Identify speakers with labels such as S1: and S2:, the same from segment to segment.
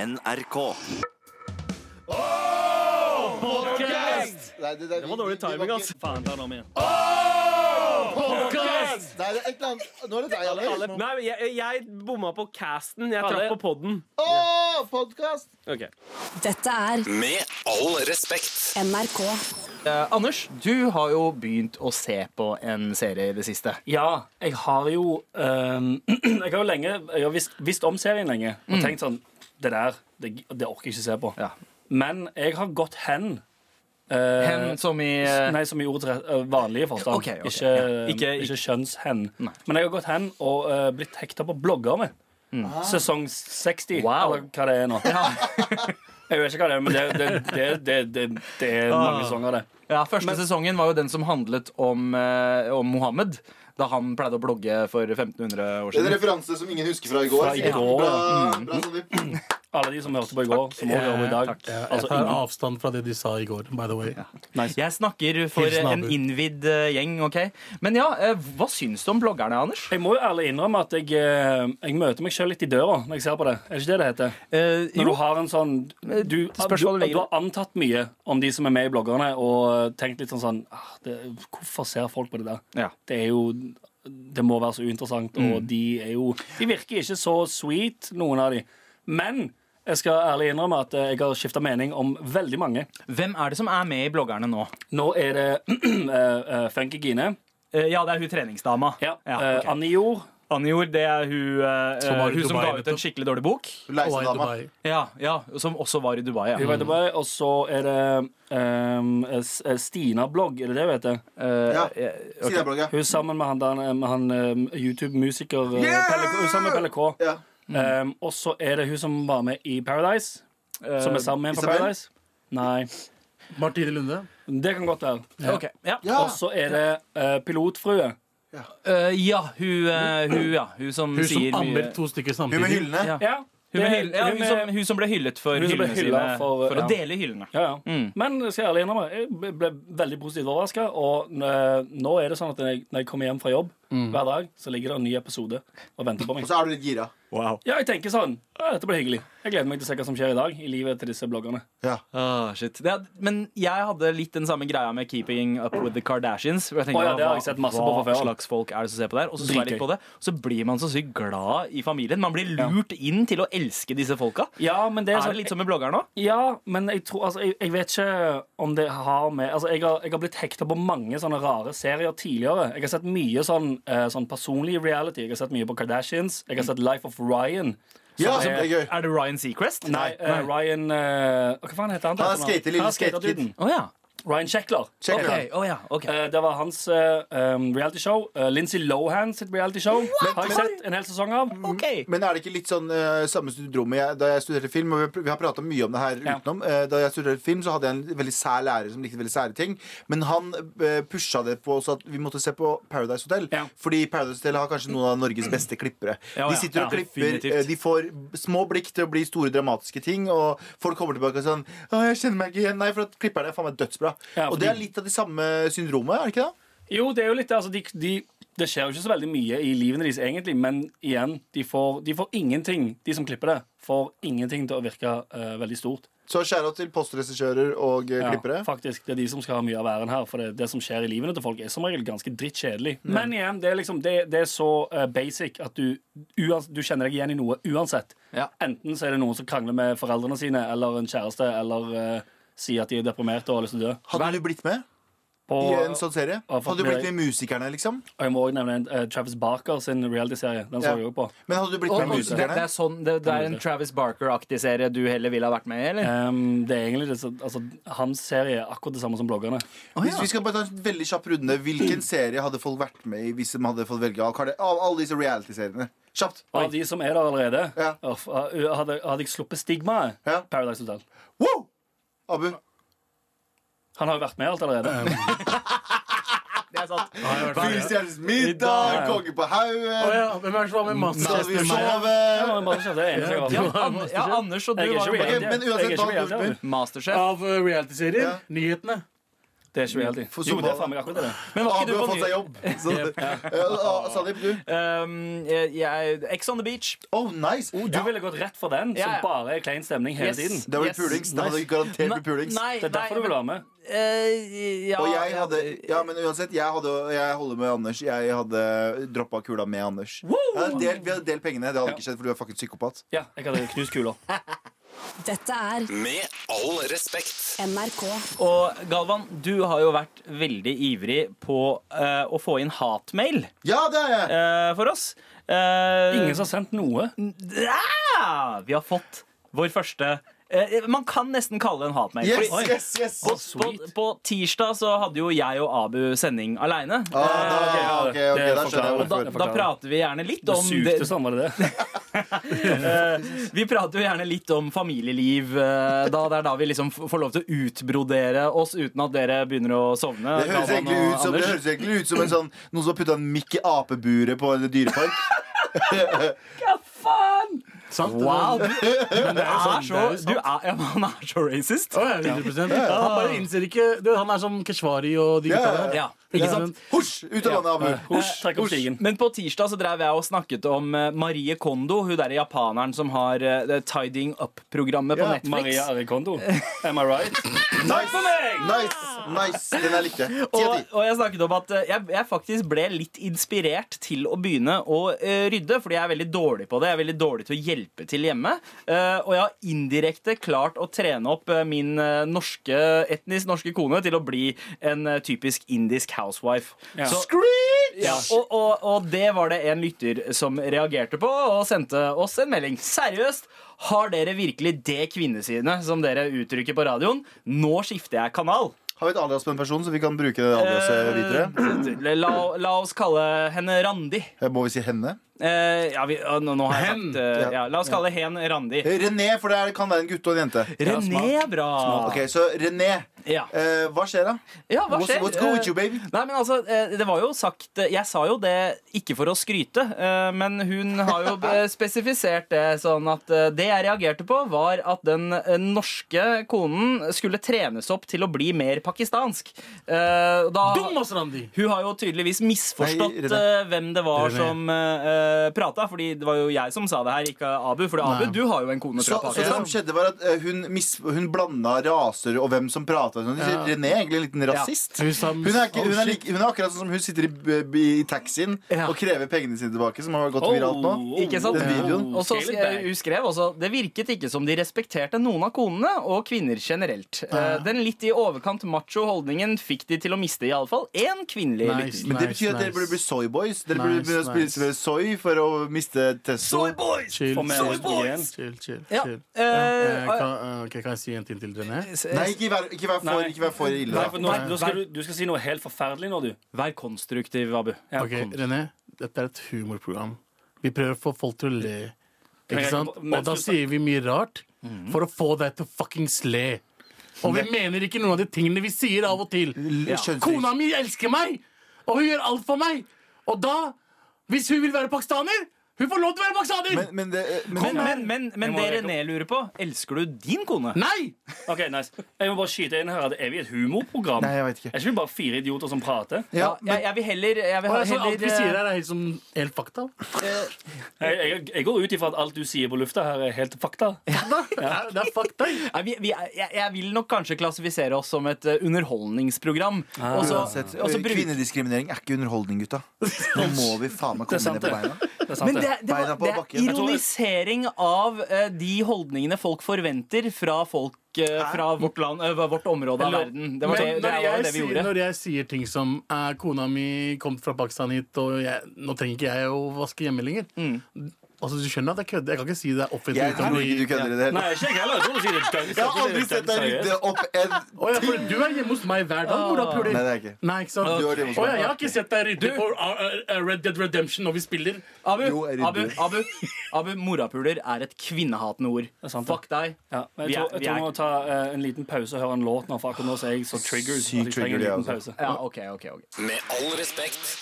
S1: NRK.
S2: Nei, det, det,
S3: Det var dårlig timing, ass. Faen, ta den om igjen.
S2: Nei, det er et eller annet Nå er det deg, Alex.
S4: Nei, men jeg, jeg bomma på casten. Jeg traff på podden.
S2: Å, podkast!
S4: Ok.
S5: Dette er
S1: Med all respekt.
S5: NRK.
S6: Eh, Anders, du har jo begynt å se på en serie i det siste.
S3: Ja, jeg har jo ehm, Jeg har jo lenge Jeg har visst, visst om serien lenge og tenkt sånn Det der, det, det orker jeg ikke se på.
S6: Mm. Ja.
S3: Men jeg har gått hen. eh,
S6: Hen som i eh,
S3: Nei, som i ordets rett- eh, vanlige forstand.
S6: Ok, ok,
S3: ikke, ikke,
S6: Ikke-
S3: kjønnshen. Men jeg har gått hen og eh, blitt hekta på bloggerne. Sesong 60,
S6: Mm. Wow.
S3: eller hva det er nå.
S6: ja,
S3: Jeg vet ikke hva det er, men det, det, det, det, det, det er mange
S6: Ah.
S3: sesonger, det.
S6: ja, Første sesongen var jo den som handlet om, eh, om Mohammed. Da han pleide å blogge for 1500 år
S2: Det er en
S6: siden.
S2: referanse som ingen husker fra i går.
S3: Fra i går, Mm.
S2: Bra, bra Sandeep.
S3: Alle de som hørte på i går, som også hører på i dag.
S7: Jeg
S3: Altså,
S7: tar
S3: ingen.
S7: avstand fra det de sa i går, by the way.
S6: Jeg snakker for
S7: Hilsen
S6: en
S7: Abu.
S6: innvidd eh, gjeng, OK? Men ja, eh, hva syns du om bloggerne, Anders?
S3: Jeg må jo ærlig innrømme at jeg, eh, jeg møter meg sjøl litt i døra når jeg ser på det. Er det ikke det det heter?
S6: Eh,
S3: Når du har en sånn du, du,
S6: spørs hva du legger i
S3: du har antatt mye om de som er med i bloggerne, og tenkt litt sånn sånn ah, det, Hvorfor ser folk på det der?
S6: Ja.
S3: Det er jo Det må være så uinteressant, og
S6: Mm.
S3: de er jo De virker ikke så sweet, noen av de. Men jeg skal ærlig innrømme at eh, jeg har skifta mening om veldig mange.
S6: Hvem er det som er med i bloggerne nå?
S3: Nå er det eh, eh, Funky Gine.
S6: Eh, ja, det er hun treningsdama.
S3: Ja.
S6: Ja, ok.
S3: eh, Annie Jord.
S6: Anjor, det er hun, eh,
S7: Som var i
S6: hun som
S7: Dubai
S6: ga ut en
S7: nettopp.
S6: skikkelig dårlig bok.
S7: Og i
S2: Leisedama.
S7: Dubai.
S6: Ja, ja, Som også var i Dubai. Ja.
S3: Vi vet det bare, Og så er det um, S- Stina Blogg, er det det hun heter? Eh,
S2: Ja. Sier jeg, Blogga.
S3: Hun er sammen med han, der- med han um, YouTube-musiker uh, Pelle, Hun er sammen med Pelle K.
S2: Ja.
S3: Um, og så er det hun som var med i Paradise.
S6: Eh,
S3: Som er sammen med en fra
S2: Isabel?
S3: Paradise. Nei.
S7: Martine Lunde.
S3: Det kan godt være.
S6: Mm. ok, ja.
S2: Ja.
S3: Og så er det uh, Pilotfrue.
S6: Eh, ja, hun, eh, hun, ja, hun som
S7: Hun
S6: sier
S7: som ammer
S6: mye-
S7: to stykker
S2: Hun med
S7: samtidig.
S2: hyllene.
S6: Ja.
S3: Ja,
S6: Hun, med
S3: det er-
S6: hyll- ja,
S3: hun
S6: hun,
S3: med-
S6: som, hun som ble hyllet for
S3: Hun som ble
S6: hyllene
S3: hyllet
S6: sine.
S3: for-
S6: For,
S3: ja.
S6: å dele hyllene.
S3: Ja, ja. Men jeg skal ærlig innrømme, jeg ble- ble veldig positivt overraska. Og eh, nå er det sånn at når jeg, når jeg kommer hjem fra jobb hver dag, så ligger det en ny episode og venter på
S2: Og
S3: meg.
S2: så er du litt gira.
S3: Ja, jeg tenker sånn. Ja, dette blir hyggelig. Jeg gleder meg til å se hva som skjer i dag i livet til disse bloggerne.
S6: Ah, shit. Ja, men jeg hadde litt den samme greia med Keeping Up With The Kardashians. hvor Jeg tenkte,
S3: Å, ja, det har
S6: hva-
S3: jeg sett masse på
S6: hva
S3: fra før.
S6: slags folk er det som ser på det her? Og så så jeg litt
S3: Dritgøy.
S6: på det, og så blir man så sykt glad i familien. Man blir lurt inn til å elske disse folka.
S3: Ja, men det
S6: Er
S3: er, sånn-
S6: det litt som med bloggerne òg?
S3: Ja, men jeg tror altså, jeg, jeg vet ikke om det har med Altså, jeg har, jeg har blitt hekta på mange sånne rare serier tidligere. Jeg har sett mye sånn, eh, sånn personlig reality. Jeg har sett mye på Kardashians. Jeg har sett Life of Ryan.
S2: Ja,
S3: Som
S2: som
S3: er-
S2: er gøy.
S6: Er det Ryan Seacrest?
S3: Nei, eh, Ryan eh, Hva faen heter han?
S2: Han er
S3: til etternavn?
S2: skater, lille
S3: Han er skaterduden.
S6: Å ja.
S3: Ryan Sheckler.
S2: Check it out.
S6: Ok, å ja. ok.
S3: Eh, det var hans eh, um, realityshow. Uh, Lincy Lohan sitt realityshow har jeg sett en hel sesong av.
S2: Mm.
S6: Ok.
S2: Men er det ikke litt sånn eh, samme studierommet jeg, da jeg studerte film? Og vi har pr- vi har prata mye om det her
S3: Ja.
S2: utenom. Eh, da jeg studerte film, så hadde jeg en veldig sær lærer som likte veldig sære ting. Men han eh, pusha det på oss at vi måtte se på Paradise Hotel.
S3: Ja.
S2: Fordi Paradise Hotel har kanskje noen av Norges beste klippere.
S6: Ja, ja.
S2: De sitter og
S6: Ja,
S2: klipper,
S6: definitivt.
S2: eh, de får b- små blikk til å bli store dramatiske ting, og folk kommer tilbake og sånn Å, jeg kjenner meg ikke igjen. Nei, for at klipperne er faen meg dødsbra.
S3: Ja,
S2: og det
S3: fordi-
S2: er litt av det samme syndromet, er det ikke det?
S3: Jo, det er jo litt det. Altså, de, de, det skjer jo ikke så veldig mye i livene deres egentlig, men igjen, de får, de får ingenting, de som klipper det, får ingenting til å virke eh, veldig stort.
S2: Så skjæra til postregissører og eh,
S3: Ja,
S2: klippere.
S3: faktisk, Det er de som skal ha mye av æren her, for det, det som skjer i livene til folk, er som regel ganske drittkjedelig.
S2: Mm.
S3: Men igjen, det er, liksom, det, det er så eh, basic at du, uans, du kjenner deg igjen i noe uansett.
S6: Ja.
S3: Enten så er det noen som krangler med foreldrene sine, eller en kjæreste, eller eh, sier at de er deprimerte og har lyst til å dø.
S2: Hadde du blitt med?
S3: På,
S2: I en sånn serie?
S3: og fått
S2: Hadde du
S3: med
S2: blitt med musikerne, liksom?
S3: og jeg må også nevne en, eh, Travis Barker sin reality-serie. Den så
S2: Ja.
S3: jeg også på.
S2: Men hadde du blitt
S6: Og,
S2: med
S6: og, det, det,
S2: musikerne?
S6: er sånn, det, det er en Travis Barker-aktig serie du heller ville ha vært med i? eller?
S3: Ehm, det er egentlig det, som- altså, Hans serie er akkurat det samme som bloggerne.
S2: Hvis vi skal bare ta en veldig kjapp runde Hvilken serie hadde folk vært med i hvis de hadde fått velge av, Karl- av alle disse reality-seriene? Kjapt.
S3: Av de som er der allerede,
S2: Ja.
S3: uff, uh, hadde, hadde jeg sluppet stigmaet.
S2: Ja.
S3: Paradise Hotel.
S2: Wow! Abu.
S3: Han har jo vært med alt allerede.
S7: Ja, jeg har vært med.
S2: Fyrstjerners middag, Konge på
S7: Å
S2: haugen,
S7: ja, Hvem er det som var med
S2: Skal vi
S7: Masterchef?
S2: sove?
S3: Ja, men bare skjønte, jeg er enig i
S6: Ja,
S3: seg, altså.
S6: An ja, Anders og du
S3: Jeg er
S6: var jo
S2: Ok,
S3: ikke altså. reality.
S2: men
S3: Jeg er
S2: uansett,
S3: ikke
S2: hva
S3: reality.
S2: du spør.
S6: Masterchef.
S7: Av eh, realityserien?
S2: Ja.
S7: Nyhetene?
S3: Det er ikke reality.
S2: For
S3: Jo, det
S2: Somalia.
S3: er faen meg akkurat det.
S6: Men var
S2: Abu
S6: ikke du
S2: har
S6: på
S2: fått seg
S6: ny...
S2: jobb. Så, Eh, Sandeep, du?
S6: Um, jeg, jeg, Ex on the beach.
S2: Oh, nice!
S3: Du ville gått rett for den,
S6: Ja, ja.
S3: som bare er klein stemning hele
S6: Yes.
S3: tiden.
S2: Det var jo pulings. Det hadde garantert blitt pulings.
S6: Nei,
S3: Det er derfor
S6: nei,
S3: du vil være med.
S6: Eh, ja,
S2: Og jeg
S6: ja,
S2: hadde Ja, men uansett, jeg, hadde, jeg holder med Anders. Jeg hadde droppa kula med Anders. Jeg hadde delt, vi hadde delt pengene. Det hadde ikke skjedd, for du er fucking psykopat.
S3: Ja, jeg hadde knust kula.
S6: Eh,
S5: Dette er
S1: Med all respekt.
S5: NRK.
S6: Og Galvan, du har jo vært veldig ivrig på eh, å få inn hatmail
S2: Ja, det er jeg!
S6: eh, for oss. Eh,
S3: Ingen som har sendt noe.
S6: Ja! Vi har fått vår første eh, Man kan nesten kalle det en hatmail.
S2: Yes,
S6: fordi-
S2: yes, yes!
S6: på, på,
S3: sweet.
S6: på tirsdag så hadde jo jeg og Abu sending aleine.
S2: Ah, da, ja, ok, ok,
S3: det
S2: da skjønner jeg
S3: forklarer.
S6: da,
S2: hvorfor.
S6: da prater vi gjerne litt
S3: Det
S6: om det,
S3: sugte sånn, var det det?
S6: Eh, Vi prater jo gjerne litt om familieliv. eh, Da det er da vi liksom f- får lov til å utbrodere oss uten at dere begynner å sovne.
S2: Det
S6: Galvan
S2: høres, egentlig
S6: og
S2: ut som, det
S6: Anders.
S2: høres egentlig ut som en sånn, noen som har putta en mikk i apeburet på en dyrepark.
S7: Sant?
S6: Wow, du,
S7: Det
S6: du er
S7: sånn-
S6: så, du
S7: det er jo sant.
S6: er, ja, men han er så racist.
S7: var- Å, ja, 100 Han bare innser ikke du, Han er som Keshvari og de
S2: Ja,
S7: gutta
S2: ja,
S7: der.
S6: Ja, ikke sant?
S2: Husj! Ut av landet, Abu.
S3: Husj, trekk opp stigen.
S6: Men på tirsdag så drev jeg og snakket om eh, Marie Kondo, hun derre japaneren som har eh, det Tiding Up-programmet på
S2: Ja,
S6: Netflix.
S3: Maria Arikondo. Am I right?
S2: Nice!
S3: meg!
S2: nice, nice Den jeg likte. Ti av
S6: Og,
S2: ti.
S6: og jeg snakket om at eh, jeg, jeg faktisk ble litt inspirert til å begynne å eh, rydde, fordi jeg er veldig dårlig på det. Jeg er veldig dårlig til å hjelpe til hjemme. Eh, og jeg har indirekte klart å trene opp eh, min eh, norske, etnisk norske kone til å bli en eh, typisk indisk housewife.
S3: Ja.
S6: Screech! Ja, og, og, og det var det en lytter som reagerte på, og sendte oss en melding. Seriøst! Har dere virkelig det kvinnesynet som dere uttrykker på radioen? Nå skifter jeg kanal.
S2: Har vi et alias på en person, så vi kan bruke det aliaset videre?
S6: Eh, La, la oss kalle henne Randi.
S2: Må vi si henne?
S6: Eh, ja, vi, ja, nå, nå har jeg sagt eh, ja, La oss kalle hen Randi.
S2: René, for det er- kan være en gutt og en jente.
S6: René er bra.
S2: Ok, Så René,
S6: Ja.
S2: eh, hva skjer da?
S6: ja, hva
S2: What's-
S6: skjer?
S2: What's good with you,
S6: Eh,
S2: baby?
S6: Nei, men altså, eh, det var jo sagt eh, Jeg sa jo det ikke for å skryte, eh, men hun har jo eh, spesifisert det sånn at eh, det jeg reagerte på, var at den eh, norske konen skulle trenes opp til å bli mer pakistansk. Eh, da,
S7: Dum, ass, Randi!
S6: Hun har jo tydeligvis misforstått
S2: Nei, René.
S6: eh, hvem det var
S7: René.
S6: som uh, prata, Fordi det var jo jeg som sa det her, ikke Abu. For Abu, du har jo en kone
S2: Så,
S6: fra
S2: så det som
S6: Pakistan.
S2: skjedde var at eh, Hun, mis, hun blanda raser og hvem som prata. Sånn. René er egentlig en liten rasist.
S7: Hun sa-
S2: Hun, er ikke, hun,
S7: oh,
S2: er
S7: shit.
S2: like, hun er akkurat sånn som hun sitter i, i taxien
S6: Ja.
S2: og krever pengene sine tilbake, som har
S7: Oh,
S2: gått viralt nå.
S6: Ikke sant?
S2: Den videoen.
S6: Og så
S3: Scale it
S6: skrev,
S3: back.
S6: hun skrev også Det virket ikke som de respekterte noen av konene og kvinner generelt. Eh, Den litt i overkant macho holdningen fikk de til å miste iallfall én kvinnelig
S7: Nice.
S6: lytter.
S2: Men det
S7: Nice,
S2: betyr at dere
S7: nice.
S2: burde bli soyboys. Dere burde
S7: Nice,
S2: begynne å spille
S7: nice.
S2: spille soy for å miste testo.
S7: Chill,
S3: Få med oss igjen.
S7: chill, chill.
S6: Ja,
S7: chill.
S6: eh,
S7: Eh, kan, eh, ok, kan jeg si en ting til René?
S2: Nei, ikke vær, ikke vær for,
S3: Nei.
S2: ikke vær for ille.
S3: Nei,
S2: da.
S3: for nå, nå skal du, du skal si noe helt forferdelig nå, du.
S6: Vær konstruktiv, Abu.
S3: Ja,
S7: Ok, René, dette er et humorprogram. Vi prøver å få folk til å le.
S3: Men jeg-
S7: Ikke sant?
S3: men-
S7: Og da sier vi mye rart
S2: Mhm.
S7: for å få deg til å fuckings le. Og vi mener ikke noen av de tingene vi sier av og til.
S2: Skjønner ikke.
S7: Kona mi elsker meg, og hun gjør alt for meg. Og da, hvis hun vil være pakistaner, hun får lov til å være pakistaner!
S2: Men, men det, men,
S6: Men, men, men, men
S3: Jeg må
S6: det
S3: rekke opp.
S6: René lurer på, elsker du din kone?
S7: Nei!
S3: Ok, nice Jeg må bare skyte inn her at Er vi et humorprogram?
S2: Nei, jeg vet ikke.
S3: Er ikke vi bare fire idioter som prater?
S2: ja,
S6: Ja, jeg, jeg vil heller, jeg vil
S7: Og jeg, så
S6: heller
S7: Altså, alt vi
S3: eh,
S7: sier her, er helt, som, helt fakta.
S3: Jeg, jeg, jeg går ut ifra at alt du sier på lufta her, er helt fakta.
S7: Det er, det er fakta.
S6: Nei, vi, vi, er- jeg, jeg vil nok kanskje klassifisere oss som et eh, underholdningsprogram.
S2: Ah,
S6: Og så-
S2: Uansett,
S6: og så bruk-
S2: kvinnediskriminering er ikke underholdning, gutta. Nå må vi faen meg
S3: Det
S2: komme
S3: er sant,
S2: ned på
S3: det.
S2: beina.
S3: Det er sant,
S6: Men
S3: det.
S6: det, det, var-
S2: Beina på
S6: det er
S2: bakken. Jeg
S3: tror-
S6: ironisering av eh, de holdningene folk forventer fra folk eh, fra vårt land, eh, vårt område av
S7: Eller-
S6: verden. Det var
S2: sånn-
S6: det,
S7: Men
S6: det,
S7: når
S6: var
S7: jeg
S6: det vi
S7: sier-
S6: gjorde.
S7: Når jeg sier ting som eh, Kona mi kom fra Pakistan hit, og jeg, nå trenger ikke jeg å vaske hjemme lenger. Altså, du skjønner at jeg kødder. Jeg kan ikke si det er offentlig.
S2: Mm. Jeg
S7: uten å
S2: tror ikke du
S7: bli-
S2: kødder i det hele
S3: Nei,
S2: tatt.
S3: ikke jeg heller. Jeg tror du sier det er døgn-
S2: Jeg har aldri
S3: seriøst.
S2: sett deg rydde opp en
S7: Å, ja, for du er hjemme hos meg hver dag, mora puler.
S2: Nei, det er jeg ikke.
S7: Nei, ikke sant?
S2: Du er hjemme hos
S7: Å, ja,
S2: meg.
S7: jeg har ikke sett deg rydde på uh, uh, Red Dead Redemption når vi spiller.
S6: Abu,
S2: Jo, jeg
S6: Abu,
S2: rydder.
S6: Abu, Abu morapuler er et kvinnehatende ord.
S3: er sant, det.
S6: Fuck deg.
S3: Ja, men jeg
S6: Vi er-
S3: tror,
S6: vi
S3: jeg tror
S6: er-
S3: vi må ta eh, en liten pause og høre en låt nå, for akkurat nå så er jeg så triggered. at
S2: Sykt
S3: jeg trenger en
S2: triggered, altså. jeg
S3: liten
S2: også.
S3: pause.
S6: Ja, ok, ok, ok
S1: Med all respekt.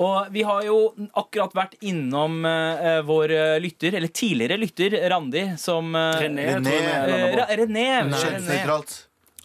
S6: Og vi har jo akkurat vært innom eh, vår eh, lytter, eller tidligere lytter, Randi, som eh,
S3: René, tror jeg vi
S2: René.
S3: er
S6: eh,
S3: landet på.
S6: Ra- René, René.
S2: Kjønnsnøytralt.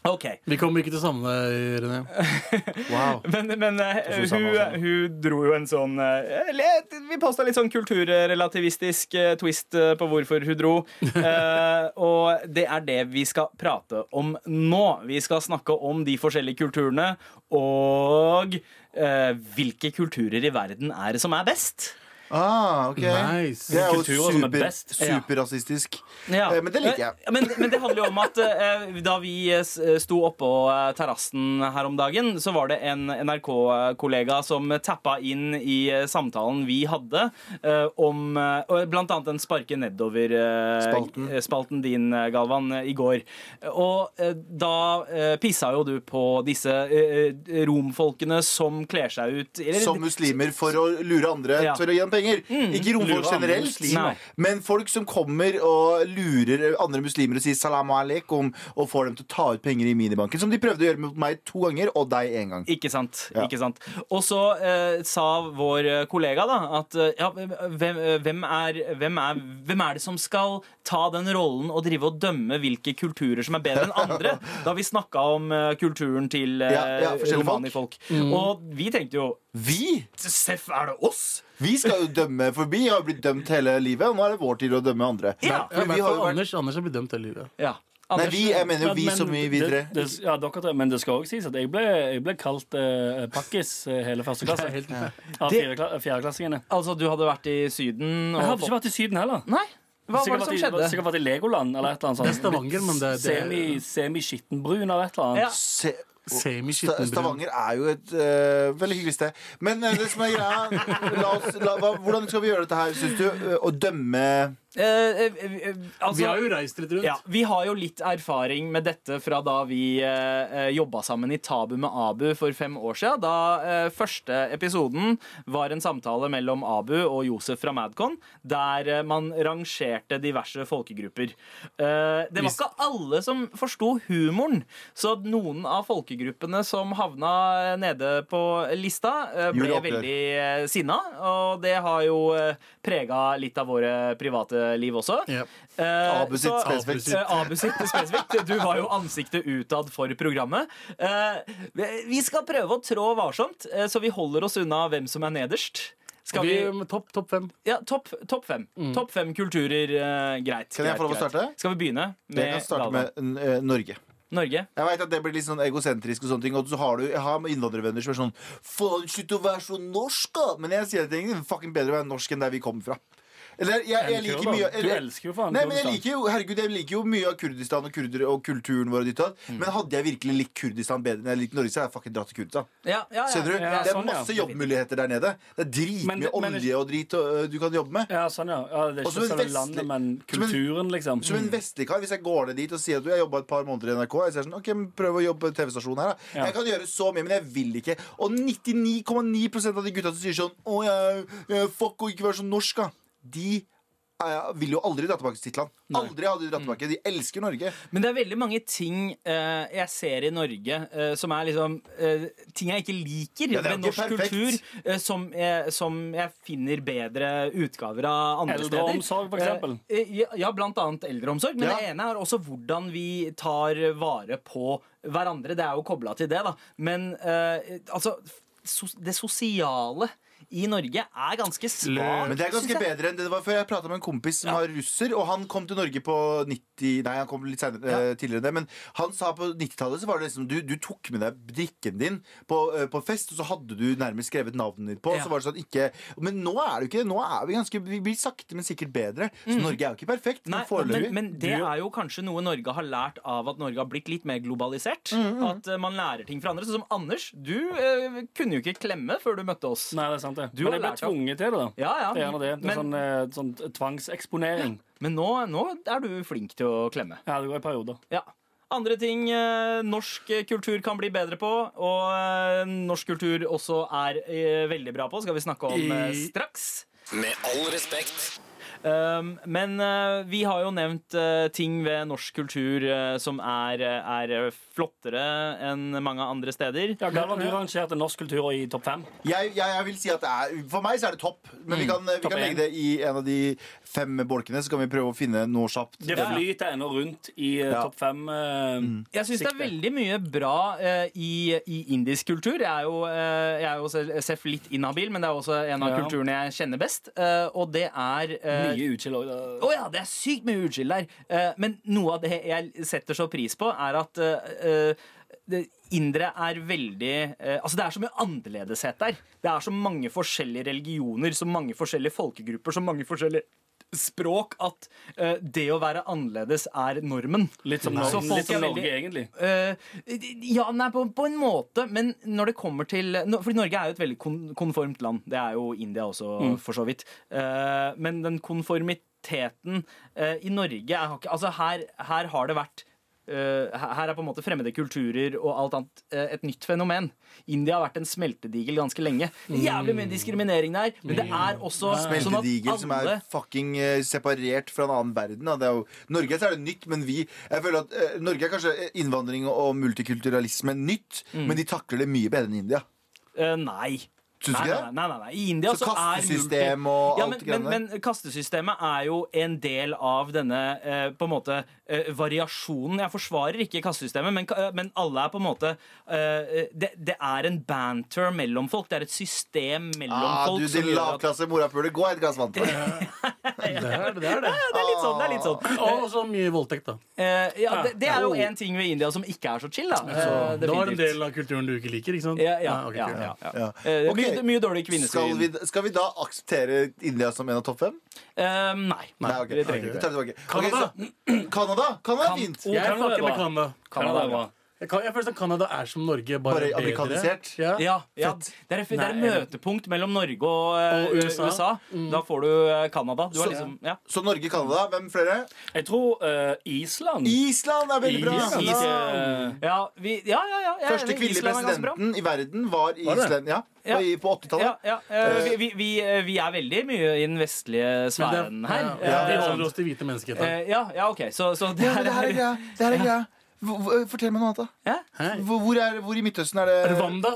S6: Ok
S7: Vi kommer ikke til å savne deg, René. Wow.
S6: Men, men eh,
S2: synes
S6: hun,
S2: han også.
S6: hun dro jo en sånn eh, le- Vi påstå litt sånn kulturrelativistisk eh, twist eh, på hvorfor hun dro. Eh, og det er det vi skal prate om nå. Vi skal snakke om de forskjellige kulturene og eh, hvilke kulturer i verden er det som er best.
S2: Ah, ok
S7: Nice.
S2: Det er jo
S3: Kulturer som er
S2: super,
S3: best.
S2: superrasistisk.
S6: Ja.
S2: Eh, Men det liker jeg.
S6: Ja, Men, men det handler jo om at eh, da vi eh, s- sto oppå eh, terrassen her om dagen, så var det en NRK-kollega som tappa inn i eh, samtalen vi hadde eh, om eh, og blant annet den sparke
S2: Spalten.
S6: nedover-spalten din, eh, Galvan, eh, i går. Og eh, da eh, pissa jo du på disse eh, eh, romfolkene som kler seg ut eller-
S2: Som muslimer for å lure andre
S6: Ja.
S2: til å gi dem penger. Ikke romfolk
S3: Mm. Lure andre
S2: generelt,
S3: muslimer.
S6: Nei.
S2: men folk som kommer og lurer andre muslimer og sier 'salam aleikum' og får dem til å ta ut penger i minibanken. Som de prøvde å gjøre mot meg to ganger, og deg én gang.
S6: Ikke sant.
S2: Ja.
S6: ikke sant Og så eh, sa vår eh, kollega da at eh, ja, hvem, eh, hvem, er, hvem, er, hvem er det som skal ta den rollen og drive og dømme hvilke kulturer som er bedre enn andre? Da vi snakka om eh, kulturen til eh,
S2: Ja, ja, forskjellige folk.
S6: romanifolk. Og vi tenkte jo
S2: Vi
S6: Seff, er det oss?
S2: vi skal jo dømme, for vi har jo blitt dømt hele livet, og nå er det vår tid å dømme andre.
S6: Ja.
S7: Ja,
S2: For vi
S7: i hvert
S2: har
S7: fall
S2: jo vært
S7: Anders, Anders er blitt dømt hele livet.
S6: Ja.
S2: Nei,
S6: Anders,
S2: vi, jeg mener jo vi
S3: Men
S2: som i
S3: det,
S2: videre.
S3: det, ja, dere tre, men det skal også sies at jeg ble, jeg ble kalt eh, pakkis eh, hele første klasse. Av
S6: Det-
S3: fjerde- fjerdeklassingene.
S6: Altså, du hadde vært i Syden og
S3: Jeg hadde ikke vært i Syden heller.
S6: Nei? Hva
S3: Sikkert
S6: var det som
S3: vært i-
S6: skjedde?
S3: Sikkert vært i Legoland eller et eller annet sånt.
S7: Det er Stavanger, men det-
S3: Semi-
S7: det-
S3: Semi-skittenbrun eller et eller annet.
S6: Ja.
S2: Se- Sta-
S7: Semi-skittenbrun.
S2: Stavanger er jo et eh, veldig hyggelig sted. Men eh, det som er greia la oss, la, hva, Hvordan skal vi gjøre dette her, syns du? Eh, Å dømme
S6: Eh, eh, eh, altså-
S7: Vi har jo reist litt rundt.
S6: Ja, Vi har jo litt erfaring med dette fra da vi eh, jobba sammen i Tabu med Abu for fem år siden. Da eh, første episoden var en samtale mellom Abu og Josef fra Madcon, der eh, man rangerte diverse folkegrupper. Eh, det var ikke alle som forsto humoren, så noen av folkegruppene som havna eh, nede på lista, eh, ble
S2: Gjorde opprør.
S6: veldig eh, sinna, og det har jo eh, prega litt av våre private liv også.
S7: Ja.
S6: Eh,
S2: Abu sitt
S6: så-
S2: spesifikt.
S6: Eh, Abu sitt spesifikt. Du var jo ansiktet utad for programmet. Eh, vi skal prøve å trå varsomt, eh, så vi holder oss unna hvem som er nederst. Skal
S7: vi,
S6: vi
S7: med topp, topp fem.
S6: Ja, topp topp fem. Topp fem kulturer. eh, greit.
S2: Kan jeg
S6: greit,
S2: få lov å
S6: greit.
S2: starte?
S6: Skal vi begynne
S2: Jeg kan
S6: med
S2: starte
S6: Galvan?
S2: med n- eh, Norge.
S6: Norge?
S2: Jeg vet at det blir litt sånn egosentrisk, og sånne ting Og så har du, jeg har innvandrervenner som er sånn Faen, slutt å være så norsk, da! Men jeg sier at det er fucking bedre å være norsk enn der vi kom fra. Eller, jeg, jeg liker mye
S3: Du elsker jo faen
S2: Nei, men jeg
S3: Kurdistan.
S2: liker jo, herregud, jeg liker jo mye av Kurdistan og kurdere og kulturen vår. Og ditt, og datt.
S3: Mm.
S2: Men hadde jeg virkelig likt Kurdistan bedre enn jeg likte Norge, så hadde jeg fucking dratt til Kurdistan.
S6: Ja, Ah, ja, ja.
S2: Skjønner du?
S3: ja,
S2: det er
S3: sånn, ja.
S2: masse jobbmuligheter der nede. Det er
S3: Men
S2: dritmye
S3: det- men-
S2: olje og drit og, ø, du kan jobbe med.
S3: Ja, sånn, ja. ja det er
S2: Og som
S3: ikke
S2: en
S3: selve
S2: vestlig-
S3: landet, men
S2: som en-
S3: kulturen, liksom.
S2: Som en vestlig kar, hvis jeg går ned dit og sier at du, jeg jobba et par måneder i NRK, jeg sier sånn, ok, men prøv å jobbe på TV-stasjonen her, da.
S3: Ja.
S2: Jeg kan gjøre så mye, men jeg vil ikke. Og 99,9 av de gutta som sier sånn, å, jeg, jeg, fuck å ikke være så norsk, da. De eh, vil jo aldri dra tilbake til sitt land. Aldri hadde de dratt tilbake.
S3: Mm.
S2: De elsker Norge.
S6: Men det er veldig mange ting eh, jeg ser i Norge eh, som er liksom eh, Ting jeg ikke liker
S2: Ja, det er jo
S6: ved
S2: ikke
S6: norsk
S2: perfekt.
S6: kultur, eh, som, jeg- som jeg finner bedre utgaver av andre
S3: Eldreomsorg, for
S6: steder.
S3: eksempel.
S6: Eh, ja, ja, blant annet eldreomsorg. Men
S2: Ja.
S6: det ene er også hvordan vi tar vare på hverandre. Det er jo kobla til det, da. Men eh, altså so Det sosiale i Norge er ganske svakt.
S2: Eh, Men det er ganske
S6: synes jeg.
S2: bedre enn det det var før. Jeg prata med en kompis som var russer, og han kom til Norge på 90 Nei, han kom litt senere, eh, tidligere enn det, men han sa på 90-tallet så var det liksom du, du tok med deg drikken din på, eh, på fest, og så hadde du nærmest skrevet navnet ditt på,
S6: Ja.
S2: så var det sånn ikke Men nå er det jo ikke det. Nå er vi ganske Vi blir sakte, men sikkert bedre. Så Norge er jo ikke perfekt,
S6: Mhm. Nei,
S2: men foreløpig.
S6: men, men det er jo kanskje noe Norge har lært av at Norge har blitt litt mer globalisert.
S3: Mm,
S6: At eh, man lærer ting fra andre. Sånn som Anders, du eh, kunne jo ikke klemme før du møtte oss.
S3: Nei, det er sant, det.
S6: Du har
S3: men jeg ble
S6: lært det.
S3: tvunget til det, da.
S6: Ja, ja.
S3: Det er gjerne det. det er
S6: Men,
S3: sånn, eh, sånn tvangseksponering.
S6: men nå, nå er du flink til å klemme.
S3: Ja, det går i perioder.
S6: Ja. Andre ting eh, norsk kultur kan bli bedre på, og eh, norsk kultur også er eh, veldig bra på, skal vi snakke om eh, straks.
S1: Med all respekt.
S6: Um, men eh, vi har jo nevnt eh, ting ved norsk kultur eh, som er, eh, er flottere enn mange andre steder.
S3: Ja, Galvan, du rangerte norsk kultur i topp fem.
S2: Jeg, jeg, jeg vil si at det er, For meg så er det topp. Men
S6: Mm,
S2: vi kan, vi
S3: Topp
S2: kan
S3: én.
S2: legge det i en av de fem bolkene, så kan vi prøve å finne noe kjapt.
S3: Det flyter ennå rundt i
S2: Ja.
S3: eh,
S2: Mm.
S3: topp fem. eh,
S6: Jeg syns det er
S3: sikte.
S6: veldig mye bra eh, i, i indisk kultur. Jeg er jo, eh, jeg er jo selv, selv litt inhabil, men det er også en av
S3: Ja.
S6: kulturene jeg kjenner best. eh, og det er eh,
S3: Mye utskill òg.
S6: Å ja, det er sykt mye utskill der. Eh, men noe av det jeg setter så pris på, er at eh, eh, det indre er veldig eh, Altså, det er så mye annerledeshet der. Det er så mange forskjellige religioner, så mange forskjellige folkegrupper, så mange forskjellige språk at eh, det å være annerledes er normen.
S3: Litt som
S6: Nei. Så folk
S3: Norge, litt som
S6: er
S3: Norge
S6: veldig-
S3: egentlig.
S6: Eh, ja, nei, på, på en måte, men når det kommer til no- Fordi Norge er jo et veldig kon konformt land. Det er jo India også,
S2: Mm.
S6: for så vidt. Eh, men den konformiteten eh, i Norge er, har ikke- Altså, her, her har det vært eh, her her er på en måte fremmede kulturer og alt annet eh, et nytt fenomen. India har vært en smeltedigel ganske lenge. Jævlig mye diskriminering der, men det er også sånn at
S2: Mm. Smeltedigel som er
S6: alle
S2: fucking eh, separert fra en annen verden. Da. Det er jo, Norge så er det nytt, men vi Jeg føler at eh, Norge er kanskje innvandring og multikulturalisme nytt,
S6: Mm.
S2: men de takler det mye bedre enn India.
S6: Eh, nei.
S2: Syns
S6: nei,
S2: du ikke
S6: nei,
S2: det?
S6: nei, nei, nei. I India
S2: Så
S6: så, er
S2: kastesystem
S6: multi-
S2: og
S6: ja,
S2: alt
S6: men,
S2: det greiene
S6: men, men kastesystemet er jo en del av denne eh, på en måte eh, variasjonen. Jeg forsvarer ikke kastesystemet, men, ka- eh, men alle er på en måte eh, det, det er en banter mellom folk. Det er et system mellom
S2: Ah,
S6: folk.
S2: du,
S6: som
S2: din
S6: gjør at-
S2: lavklasse morapuler, gå et glass vann til meg.
S7: Det er det. er det.
S6: Ja, det er litt sånn. det er litt
S2: Ah.
S6: sånn.
S7: Og så mye voldtekt, da.
S6: Eh, ja, det, det er jo én ting ved India som ikke er så chill, da. Eh,
S7: Det var en
S6: definitivt.
S7: del av kulturen du ikke liker, ikke sant? Ah,
S6: ja, ja,
S7: ok,
S6: ja,
S7: kult.
S6: ja, ja.
S2: Ja.
S6: Eh,
S2: Ok,
S6: mye, mye dårlig
S2: Skal
S6: kvinnesyn.
S2: vi, skal vi da akseptere India som en av topp fem?
S6: Eh, nei.
S2: Nei, ok.
S6: det trenger vi
S2: Vi
S6: ikke.
S2: tar det tilbake. Ok,
S7: Canada!
S2: så- Canada Canada er fint.
S3: Oh,
S7: Jeg
S3: Canada er
S7: fucker med
S3: bra.
S7: Canada.
S3: Canada er bra.
S7: Jeg, kan, jeg føler at Canada er som Norge, bare,
S2: Bare
S7: bedre.
S2: amerikanisert?
S7: Ja.
S6: Ja, ja. Det er, det er
S3: Nei, jeg-
S6: møtepunkt mellom Norge og, eh,
S7: Og USA.
S6: Da får du eh, Canada. Du har liksom, ja.
S2: Så Norge, Canada. Hvem flere?
S3: Jeg tror eh, Island eh,
S2: Island er veldig bra!
S3: Island.
S2: Island.
S6: Ja, vi, ja, ja, ja, ja.
S2: Første kvinnelige
S6: Island er ganske bra.
S2: presidenten i verden var i
S7: Var det?
S2: Island. Ja,
S6: Ja.
S2: i- På 80-tallet.
S6: Ja, ja. eh, vi- vi, vi, eh, vi er veldig mye i den vestlige
S7: Men det-
S6: sfæren her.
S7: Ja, ja, vi
S6: Eh,
S7: holder oss til hvite menneskeheter.
S6: eh, ja, ja, OK. Så, så det
S2: Ja,
S6: her
S2: men det her er
S6: er
S2: greia. Det her er greia. Hvor- hvor- Fortell meg noe annet, da.
S6: Hæ?
S7: Hæ?
S2: Hvor, hvor, er, hvor i Midtøsten er det
S7: Rwanda.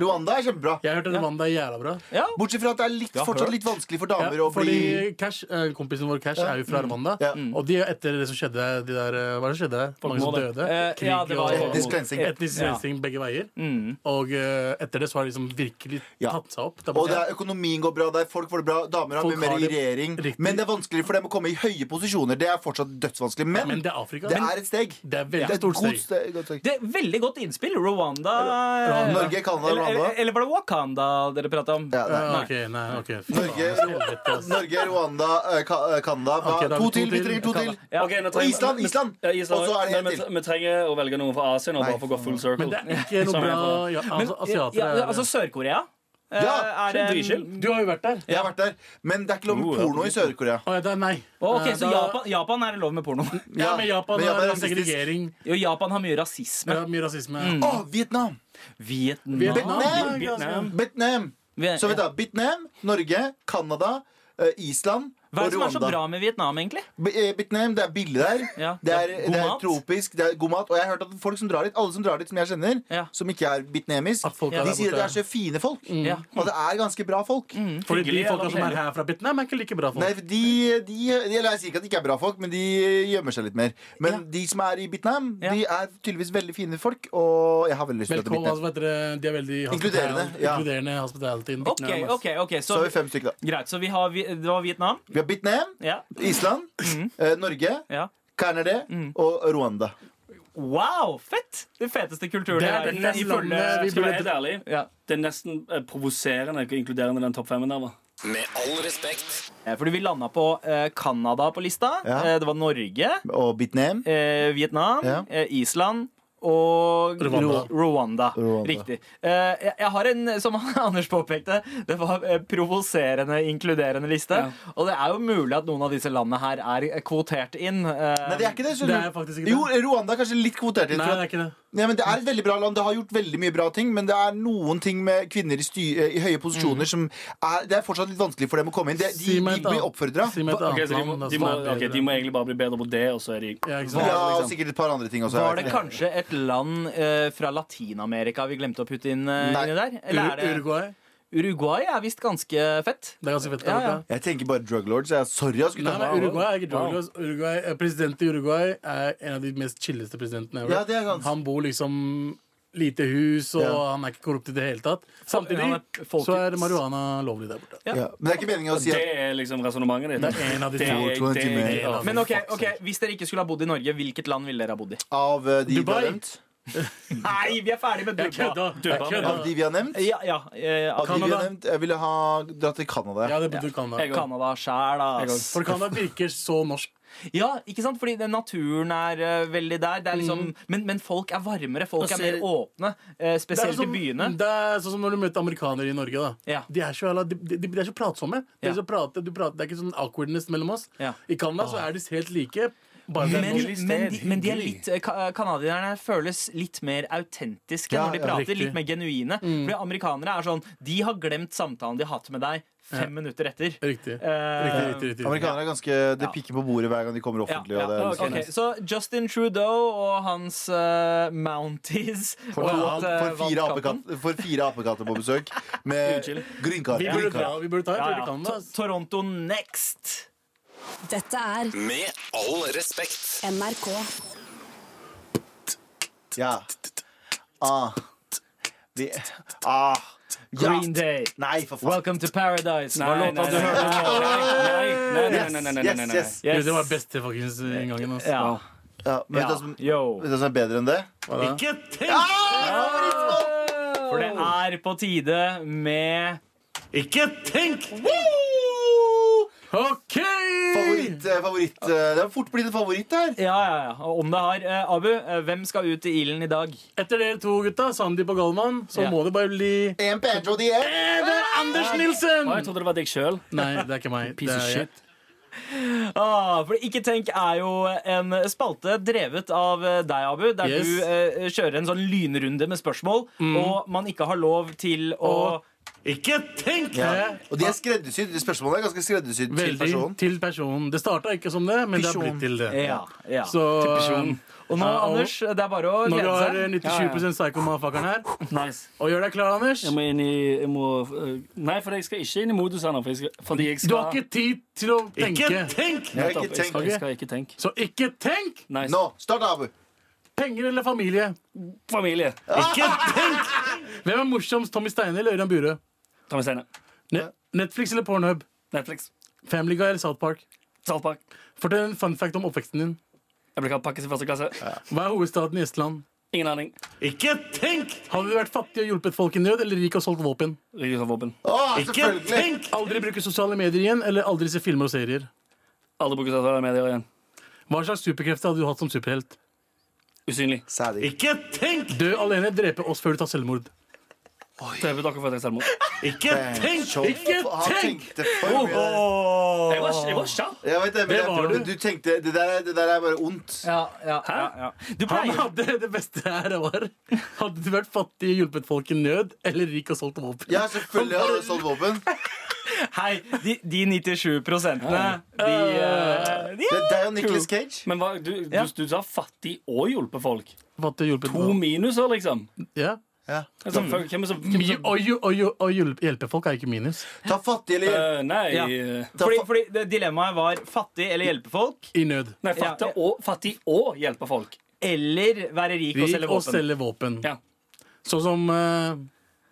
S2: Rwanda er kjempebra.
S7: Jeg hørte Rwanda er jævla bra.
S6: Ja.
S2: Bortsett fra at det er litt,
S6: Ja,
S2: fortsatt
S6: hørt.
S2: litt vanskelig for damer
S7: Ja,
S2: å bli
S7: fordi Cash, eh, Kompisen vår Cash er jo fra Rwanda.
S2: Ja.
S7: Og de, etter det som skjedde de der, eh, Hva er det som skjedde? Mange som
S3: Folkemordet.
S7: døde.
S6: Eh,
S7: Krig
S6: ja, det var-
S7: og
S2: Etnisk cleansing.
S7: etnisk
S6: Ja.
S7: rensing begge veier.
S6: Mm.
S7: Og eh, etter det så har de liksom virkelig
S2: Ja.
S7: tatt seg opp. Det er
S2: Og det
S7: bare-
S2: er, økonomien går bra der, folk får det bra, damer har
S7: Folk
S2: mye mer
S7: har
S2: i
S7: det
S2: regjering.
S7: riktig.
S2: Men det er vanskeligere for dem å komme i høye posisjoner. Det er fortsatt dødsvanskelig. Men,
S7: Men det er Afrika.
S2: det
S7: Men
S2: er et steg.
S7: det er veldig
S2: Det er et
S7: stort
S2: godt
S7: steg.
S2: steg. Godt steg.
S6: Det er Veldig godt innspill. Rwanda eh,
S2: Norge, Canada,
S6: eller,
S2: Rwanda.
S6: eller, eller var det Wakanda dere prata om?
S2: Ja, nei.
S7: Eh, ok, nei, ok. Fy
S2: Norge,
S7: faen, altså. helvete, ass.
S2: Norge, Rwanda, eh, Ka- eh, Canada. Hva-
S7: Ok, da har vi
S2: to
S7: to
S2: til. Vi
S7: til.
S2: trenger to til.
S6: Ja.
S3: Ok, nå
S2: Og
S3: trenger-
S2: Island,
S3: men-
S2: Island.
S3: Ja, Island.
S2: Og så er det helt
S3: men,
S2: til.
S3: vi- Vi trenger å velge noen fra Asia nå,
S2: Nei.
S3: bare for å gå full circle.
S7: Men det er ikke noe
S3: Som
S7: bra
S3: jeg
S7: ja, altså, Asiater
S6: ja,
S7: er
S6: altså Sør-Korea. eh,
S2: Ja,
S6: er en-
S3: dritchill.
S7: Du har jo vært der.
S2: Jeg har vært der. Men det er ikke lov med
S3: Oh, ja.
S2: porno i Sør-Korea.
S7: Å, ja, det er nei.
S6: Ok,
S7: Eh,
S6: Så
S7: da-
S6: Japan, Japan er det lov med porno?
S7: Ja, men
S2: Japan
S7: Japan har
S2: er rasistisk.
S7: segregering.
S6: Jo, Japan har mye rasisme.
S7: Ja, mye rasisme.
S6: Mm.
S2: Å, Vietnam!
S6: Vietnam,
S7: Vietnam.
S2: Vietnam.
S3: Vietnam.
S2: Vietnam.
S6: Vi-
S2: Så vet du, Vietnam, Norge, Canada, eh, Island
S6: Hva er
S2: og
S6: det som er så
S2: Rwanda.
S6: bra med Vietnam, egentlig?
S2: B- eh, Vietnam, det er billig der.
S6: Ja.
S2: Det
S6: Ja, god
S2: er, det er
S6: mat.
S2: tropisk, det er god mat. Og jeg har hørt at folk som drar dit, alle som drar dit, som jeg kjenner,
S6: Ja. Mm.
S2: som ikke er vietnamisk,
S7: At folk er
S2: de
S7: der
S2: sier at det
S7: borte.
S2: er så fine folk.
S6: Ja. Mm.
S2: Og det er ganske bra folk.
S7: Fordi de
S3: Hyggelig,
S7: folka
S3: ja,
S7: som er her fra Vietnam, er ikke like bra folk.
S2: Nei, for de, de, eller Jeg sier ikke at de ikke er bra folk, men de gjemmer seg litt mer. Men de som er i Vietnam,
S6: Ja.
S2: de er tydeligvis veldig fine folk. Og jeg har veldig lyst til å dra til
S7: Velkommen,
S2: Vietnam.
S7: altså, vet dere, de er veldig hospital-
S2: Inkluderende, ja.
S7: inkluderende hospitality. in
S6: Ok,
S7: Vietnam, ass.
S6: ok, ok
S2: Så
S6: Så,
S2: har vi fem stykker, da.
S6: greit, så vi har, vi- det var Vietnam.
S2: Vi har Vietnam,
S6: Ja,
S2: Island,
S7: Mm.
S2: eh, Norge,
S6: ja
S2: Canada og Rwanda.
S6: Wow, fett! Det feteste kulturen
S7: Det er
S6: i verden,
S7: det neste
S6: ifølge-
S7: landet
S3: Skal
S7: vi
S3: jeg
S7: burde
S3: være helt ærlig,
S6: ja.
S3: det er nesten eh, provoserende hvor inkluderende den topp femmen der var.
S1: Med all respekt.
S6: Eh, Fordi vi landa på eh, Canada på lista.
S2: Ja.
S6: Eh, det var Norge,
S2: Og Vietnam.
S6: eh, Vietnam,
S2: Ja.
S6: eh, Island og
S7: Rwanda.
S6: Ru- Rwanda.
S2: Rwanda.
S6: Riktig. Eh, jeg, jeg har en, som Anders påpekte, det var eh, provoserende inkluderende liste. Og det er jo mulig at noen av disse landene her er kvotert inn. eh,
S2: Nei, det er ikke det.
S7: Det er
S2: skjønner du.
S7: faktisk ikke
S2: Jo,
S7: det.
S2: Rwanda er kanskje litt kvotert inn.
S7: Nei,
S2: for
S7: det
S2: at-
S7: er ikke det.
S2: Nei, men Det er et veldig bra land. Det har gjort veldig mye bra ting, men det er noen ting med kvinner i, sty i høye posisjoner som er, Det er fortsatt litt vanskelig for dem å komme inn. Det, de,
S7: Mm. Si meg
S2: de
S7: et
S2: blir
S7: annet-
S2: oppfordra.
S7: Si meg et
S3: Ok,
S7: annet
S3: så de må,
S7: land
S3: de, må,
S7: som er
S3: ok,
S7: bedre.
S3: de må egentlig bare bli bedre på det, og så er de
S7: Ja, ikke sant?
S2: Ja, og
S6: liksom.
S2: sikkert et par andre ting også. jeg
S6: Var
S2: vet
S6: det kanskje et land eh, fra Latin-Amerika vi glemte å putte inn eh,
S2: Nei.
S6: inni der? Eller
S7: Ur-
S6: er det
S7: Uruguay.
S6: Uruguay er visst ganske fett.
S7: Det er ganske fett.
S6: Ja, ja.
S7: Uruguay.
S2: ikke. Jeg tenker bare drug lords. Jeg er sorry, ass,
S7: Nei,
S2: gutta.
S7: nei, Uruguay er ikke
S3: Wow.
S7: drugless. Uruguay, eh, Presidenten i Uruguay er en av de mest chilleste presidentene ever.
S2: Ja, det er sant.
S7: Han bor liksom lite hus, og
S2: Ja.
S7: han er ikke korrupt i det hele tatt. Samtidig
S6: Han er folket-
S7: så er marihuana lovlig der borte.
S2: Ja. Men det er ikke meningen å si
S3: Det
S2: at
S3: er liksom resonnementet ditt.
S7: Det er en av de
S3: Det
S7: to.
S3: er-
S2: to- to-
S3: det er-
S2: en
S7: av de-
S6: Men ok, ok, Hvis dere ikke skulle ha bodd i Norge, hvilket land ville dere ha bodd i?
S2: av eh, de vi
S7: Dubai.
S2: har nevnt
S6: Nei, vi er ferdig med
S7: Jeg
S6: Dubai.
S7: kødda! Jeg kødda.
S2: Av de vi har nevnt?
S6: Ja, ja, eh,
S2: Av de vi har
S7: Kanada.
S2: nevt Jeg ville ha dratt til Canada.
S7: Ja, det burde du kan da.
S3: Jeg går.
S6: Canada sjæl, ass.
S7: For Canada virker så norsk.
S6: Ja, ikke sant? Fordi den naturen er eh, veldig der. Det er liksom, men, men folk er varmere. Folk
S3: Og
S6: er mer
S3: ser-
S6: åpne. eh,
S7: Det er sånn
S6: spesielt
S7: som-
S6: i byene.
S7: Det er sånn som når du møter amerikanere i Norge. da
S6: Ja.
S7: De er så, jævla- de, de, de er så pratsomme. De
S6: Ja.
S7: er så prate, du prater, det er ikke sånn awkwardness mellom oss.
S6: Ja.
S7: I Canada så er de helt like. Bare det er
S6: Men,
S7: norsk.
S6: men, de, men de er litt eh, ka- Kanadierne føles litt mer autentiske
S2: Ja,
S6: når de
S2: ja,
S6: prater.
S7: riktig.
S6: litt mer genuine.
S3: Mm.
S6: Fordi amerikanere er sånn De har glemt samtalen de har hatt med deg fem minutter etter.
S7: Riktig.
S6: Eh,
S7: Riktig, riktig, riktig.
S2: Amerikanere er ganske Det pikker på bordet hver gang de kommer
S6: Ja,
S2: offentlig.
S6: ja.
S2: Og det er
S6: Ok,
S2: liksom-
S6: Så Justin Trudeau og hans eh, Mounties
S2: For,
S6: og
S2: to,
S6: at, eh,
S2: for, fire
S6: vant kampen.
S2: apekatter, for fire apekatter på besøk med
S3: Unnskyld.
S2: grynkarer.
S7: Vi burde, dra, vi burde ta et
S6: Ja,
S7: tur til
S6: ja.
S7: Canada.
S6: To- Toronto next!
S5: Dette er
S1: Med all respekt.
S5: NRK.
S2: Ja. Ah. Vi, ah. Ja.
S6: Green Day.
S2: Nei, for faen.
S6: Welcome to paradise.
S3: Nei,
S6: Hva
S3: nei,
S6: låta
S3: nei,
S6: du
S3: nei,
S6: hørte nå?
S3: nei, nei, nei, nei, nei, nei, nei, nei,
S2: Yes,
S3: nei.
S2: yes.
S6: Yes.
S7: Det var beste fuckings inngangen. ass.
S6: Ja.
S2: Ja, men vet du hva som-
S6: Yo.
S2: vet du hva som er bedre enn det?
S7: Ikke tenk!
S6: For det er på tide med
S7: Ikke tenk! OK!
S2: Favoritt, eh, favoritt eh, Det har fort blitt en favoritt der.
S6: Ja, ja, ja. Og Om det har. Eh, Abu, eh, hvem skal ut i ilden i dag?
S7: Etter dere to gutta, Sandeep og Galvan, så
S6: Ja.
S7: må det bare bli
S2: En Pedro Diez.
S7: Eh, Det er Anders
S3: Å, jeg
S7: Nilsen!
S3: trodde det var deg sjøl.
S7: Nei, det er ikke meg.
S3: Piece of
S7: Det er-
S3: shit.
S6: Ah, for Ikke tenk er jo en spalte drevet av eh, deg, Abu, der
S7: Yes. Mm.
S6: du eh, kjører en sånn lynrunde med spørsmål, og man ikke har lov til å
S7: Og- Ikke tenk!
S2: Ja. Og de er skreddersydd. De spørsmålene er ganske skreddersydd til
S7: Veldig
S2: personen.
S7: til personen. Det starta ikke som det, men det har
S2: Person.
S7: blitt til det.
S6: Ja, ja.
S7: Så
S6: Og nå,
S7: Ja, og-
S6: Anders, det er bare å
S7: når du
S6: glede
S7: har
S6: seg.
S7: eh, 97 psycho-motherfuckeren her
S3: Nice.
S7: Og gjør deg klar, Anders.
S3: Jeg må inn i jeg må, øh, Nei, for jeg skal ikke inn i modus ennå. for jeg skal- Fordi jeg skal
S7: Du har ikke tid til å tenke.
S2: Jeg har ikke
S3: Jeg skal,
S2: tenkt.
S3: jeg skal ikke tenke.
S7: Så ikke tenk!
S3: Nice.
S2: Nå, start, Abu.
S7: Penger eller familie?
S3: Familie.
S7: Ikke tenk! Hvem er morsomst, Tommy Steine eller Ørjan Burøe?
S3: Ta med Steine.
S7: Ne Netflix eller Pornhub?
S3: Netflix.
S7: Family Guy eller South Park?
S3: South Park.
S7: Fortell en fun fact om oppveksten din.
S3: Jeg ble kalt pakkis i første klasse.
S7: Hva er hovedstaden i Estland?
S3: Ingen aning.
S7: Ikke tenk! Har vi vært fattige og hjulpet folk i nød, eller rik og solgt våpen?
S3: Ryker fra våpen.
S2: Å, selvfølgelig.
S7: Aldri bruke sosiale medier igjen, eller aldri se filmer og serier.
S3: Aldri bruker sosiale medier igjen.
S7: Hva slags superkrefter hadde du hatt som superhelt?
S3: Usynlig.
S2: Særlig.
S7: Ikke tenk! Dø alene, drepe oss før du tar selvmord.
S3: Dreper dere for at jeg er selvmord.
S7: Ikke Ikke
S2: Han
S7: tenk!
S2: tenkte for mye.
S3: Jeg var, jeg var kjapp.
S2: Jeg vet det, men
S7: Det
S2: jeg
S7: var
S2: prøver-
S7: du.
S2: men du tenkte Det der, er- det der er bare ondt.
S6: Ja, ja, ja, ja. Du
S7: Han
S6: pleier
S7: hadde det beste her var Hadde du vært fattig, hjulpet folk i nød, eller rik og solgt våpen?
S2: Ja, selvfølgelig har du solgt våpen.
S6: Hei, de, de 97 prosentene, de, eh, de
S2: Det det er jo Nicolas Cage.
S3: Men hva, du, du,
S6: Ja.
S3: du sa fattig og hjulpet folk.
S7: Fattig og hjulpet
S3: To minuser, liksom.
S7: Ja.
S2: Ja.
S3: Altså, fuck, hvem er så, hvem er så
S7: Mye å hju- å hju- å hjulpe- hjelpe folk er ikke minus.
S2: Ta fattig eller hjelp.
S3: Øh, Nei
S6: Ja.
S3: øh,
S6: fordi, fordi det Dilemmaet var fattig eller hjelpe folk,
S7: I nød.
S3: Nei, fattig
S6: Ja, ja.
S3: og, fattig og hjelpe folk.
S6: eller være rik og
S7: Rik
S6: selge
S7: og
S6: våpen.
S7: selge våpen.
S3: Ja.
S7: Sånn som eh,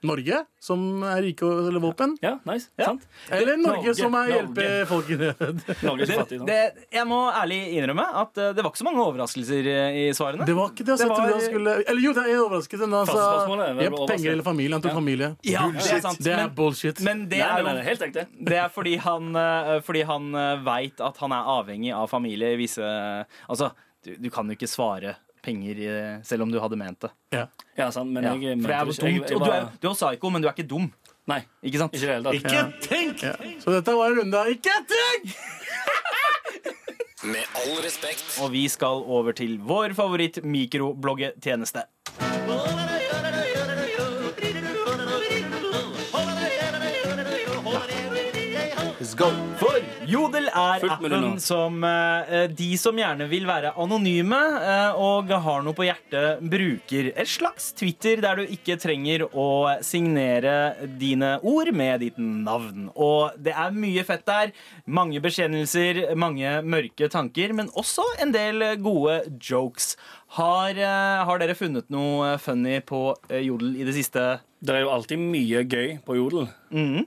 S7: Norge, som er rike og selger våpen.
S3: Ja, nice. Sant?
S7: Eller Norge,
S3: Norge,
S7: som er hjelpe
S3: Norge.
S7: folk i nød.
S3: Norge er så fattig. sant?
S6: Det, jeg må ærlig innrømme at eh, det var ikke så mange overraskelser eh, i svarene.
S7: Det var ikke det. altså,
S6: Det
S7: jeg trodde
S6: var-
S7: han skulle Eller jo, det er en overraskelse. men Han
S3: Første spørsmålet,
S7: sa
S3: det var
S7: «Jepp,
S3: overraskelse.
S7: Altså, penger eller familie. Han tok familie.
S6: ja, det er sant.
S7: Det er
S6: men,
S7: bullshit.
S6: men det
S3: Nei,
S6: er
S3: nei,
S6: jo
S3: nei, helt ekte.
S6: Det er fordi han, eh, fordi han eh, vet at han er avhengig av familie i visse Altså, du, du kan jo ikke svare penger, eh, selv om du hadde ment det.
S7: Ja.
S3: Ja, sant, men
S6: Ja,
S3: jeg
S6: for det
S3: mente
S6: er
S3: det
S6: dumt.
S3: ikke. Jeg- jeg
S6: og du
S3: var-
S6: er, du er psyko, men du er ikke dum.
S3: Nei,
S6: Ikke sant?
S3: ikke i det hele tatt.
S7: Ikke tenk! Så dette var en runde av Ikke tenk!
S1: Med all respekt.
S6: Og vi skal over til vår favoritt mikrobloggetjeneste.
S2: Let's go.
S6: For Jodel er
S3: Fullt mulig nå.
S6: appen som eh, de som gjerne vil være anonyme eh, og har noe på hjertet, bruker. Et slags Twitter der du ikke trenger å signere dine ord med ditt navn. Og det er mye fett der. Mange bekjennelser, mange mørke tanker, men også en del gode jokes. Har, eh, har dere funnet noe funny på eh, Jodel i det siste?
S3: Det er jo alltid mye gøy på Jodel.
S2: Eh,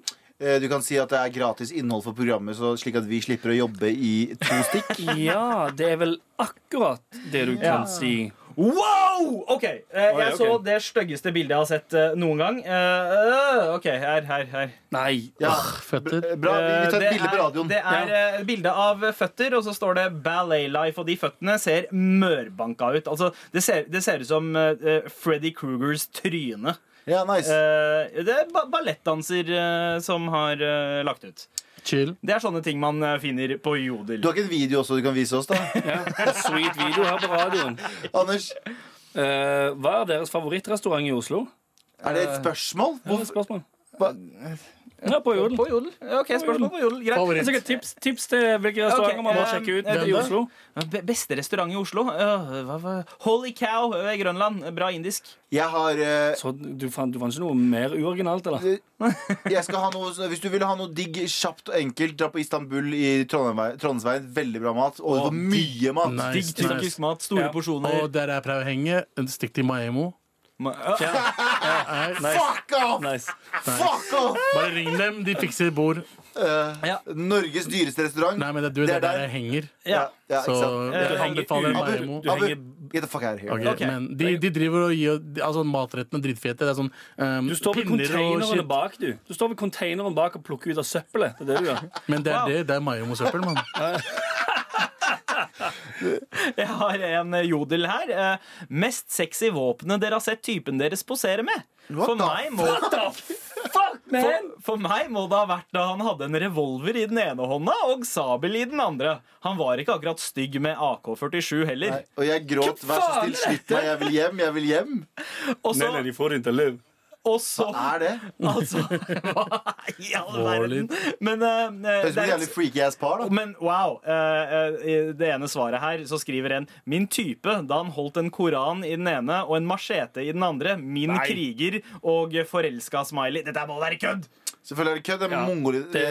S2: Du kan si at det er gratis innhold for programmet, så slik at vi slipper å jobbe i to stikk.
S3: Ja, det er vel akkurat det du kan si.
S6: Wow! OK. eh, jeg
S3: ok.
S6: så det styggeste bildet jeg har sett eh, noen gang. Eh, øh, OK, her, her, her.
S3: Nei.
S2: Ja,
S7: Føtter.
S2: bra, vi vi tar
S6: Eh,
S2: et bilde på radioen.
S6: Det er eh, et bilde av føtter, og så står det 'Ballet Life', og de føttene ser mørbanka ut. Altså, det ser, det ser ut som eh, Freddy Krugers tryne.
S2: Ja, nice.
S6: Eh, det er ba ballettdanser eh, som har eh, lagt ut.
S7: Chill.
S6: Det er sånne ting man eh, finner på Jodel.
S2: Du har ikke en video også du kan vise oss, da?
S3: Ja, sweet video her på radioen.
S2: Anders,
S3: Eh, hva er deres favorittrestaurant i Oslo?
S2: er det et spørsmål?
S3: Det er et spørsmål.
S2: Hva-
S3: Ja, på Jodel.
S6: På Jodel? OK, spørsmål på Jodel. Greit.
S3: Det er
S7: Favoritt.
S3: sikkert Altså, tips, tips til hvilke restauranter man må
S6: eh,
S3: sjekke ut
S6: eh,
S3: i Oslo.
S6: Be- Beste restaurant i Oslo? Øh, hva, hva? Holy cow øh, Grønland. Bra indisk.
S2: Jeg har eh,
S3: Så du fant, du fant ikke noe mer uoriginalt, eller?
S2: jeg skal ha noe, Hvis du vil ha noe digg, kjapt og enkelt, dra på Istanbul i Trondheimsveien. Trondheimsveien. Veldig bra mat. Og det var mye mat.
S7: Nice,
S6: Digg tyrkisk
S7: nice.
S6: mat. Store
S3: Ja.
S6: porsjoner.
S7: Og der jeg pleier å henge, stikk til Maemo.
S6: Ma- øh,
S7: Nei,
S2: Fuck off!
S3: Nice.
S2: Fuck off!
S7: Bare ring dem, de fikser bord.
S2: Eh,
S6: Ja.
S2: Norges dyreste restaurant.
S7: Nei, men det, du, det er der jeg henger.
S2: Ja, ja,
S7: Så
S2: ikke sant?
S7: jeg
S6: henger
S7: anbefaler
S6: ut.
S7: Maemo.
S3: Du
S2: Abu,
S3: henger
S2: get the fuck out of here.
S7: Ok,
S6: Ok.
S7: Men de, de driver og gir de- altså, matrettene er dritfete. Det er sånn um,
S3: Du står ved
S7: pinner og
S3: containeren
S7: shit.
S3: bak, du. Du står ved containeren bak og plukker ut av søppelet. Det er det du gjør.
S7: Men det er
S6: Wow.
S7: det. Det er Maemo-søppel, mann.
S6: Jeg har en øh, jodel her. Øh, mest sexy våpenet dere har sett typen deres posere med. For
S2: the
S6: meg, må, for, for meg må det ha vært da han hadde en revolver i den ene hånda og sabel i den andre. Han var ikke akkurat stygg med AK-47 heller.
S2: Nei, Og jeg gråt. Vær så snill, slipp meg. Jeg vil hjem. Jeg vil hjem.
S6: Og så,
S3: de får det til å leve.
S6: og så
S2: Er det?
S6: Altså, hva i all verden? Men, eh, eh,
S2: Høres ut som
S6: det
S2: et
S6: er-
S2: jævlig freaky ass par, da.
S6: men wow. eh, eh, det ene svaret her, så skriver en Min type da han holdt en koran i den ene og en machete i den andre. Min kriger og forelska smiley. Dette må være kødd!
S2: Selvfølgelig er det kødd. Det er
S3: Ja.
S2: mongoli...
S3: Det, det,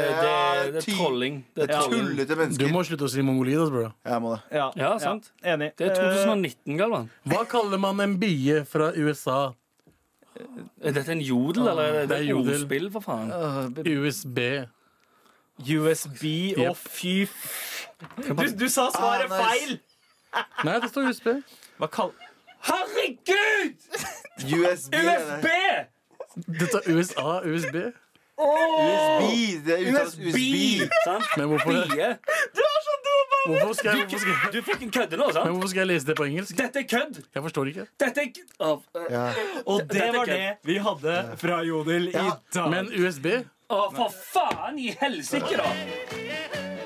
S3: det
S2: ty-
S3: er trolling.
S2: Det
S3: Det er
S2: er
S3: trolling.
S2: tullete
S7: Du
S2: mennesker.
S7: må slutte å si mongolid. ass, bro.
S2: Jeg må det.
S6: Ja,
S3: Ja, sant.
S6: enig.
S3: Det er 2019, Galvan.
S7: Hva kaller man en bie fra USA?
S3: Er dette en jodel, eller er det,
S7: Det er
S3: et
S7: jodel.
S3: ordspill, for faen?
S7: USB.
S6: Eh, USB Å,
S7: Jep.
S6: fy f... Du, du sa svaret
S2: Ah, nice.
S6: feil!
S7: Nei, det står USB.
S6: Hva kall...
S3: Herregud!
S2: USB. er
S3: USB!
S2: det.
S7: Det står USA, USB.
S2: USB. Det uttales USB.
S3: Sant?
S7: Men hvorfor,
S3: Bie.
S7: hvorfor, skal jeg, hvorfor, skal jeg,
S3: Du fucking kødder nå,
S7: men
S3: sant?
S7: hvorfor skal jeg lese det på engelsk?
S3: Dette er kødd!
S7: Jeg forstår ikke.
S3: Dette er k- Å, f-
S2: Ja.
S6: Og det
S3: Dette er
S6: var
S3: kødd.
S6: det vi hadde fra Jodel i
S2: Ja,
S6: dag.
S7: Men USB?
S3: å, for faen i helsike, da!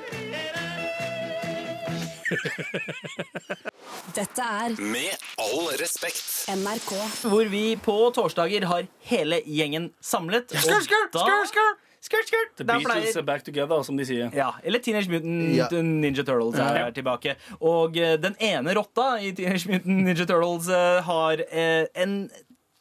S5: Dette er
S1: Med all respekt.
S5: NRK.
S6: hvor vi på torsdager har hele gjengen samlet. og da- Skrrt, skrrt.
S3: The
S6: Da
S3: Beatles
S6: pleier-
S3: are back together, som de sier.
S6: Ja, eller Teenage Mutant
S2: Ja.
S6: Ninja Turtles er tilbake. Og eh, den ene rotta i Teenage Mutant Ninja Turtles eh, har eh, en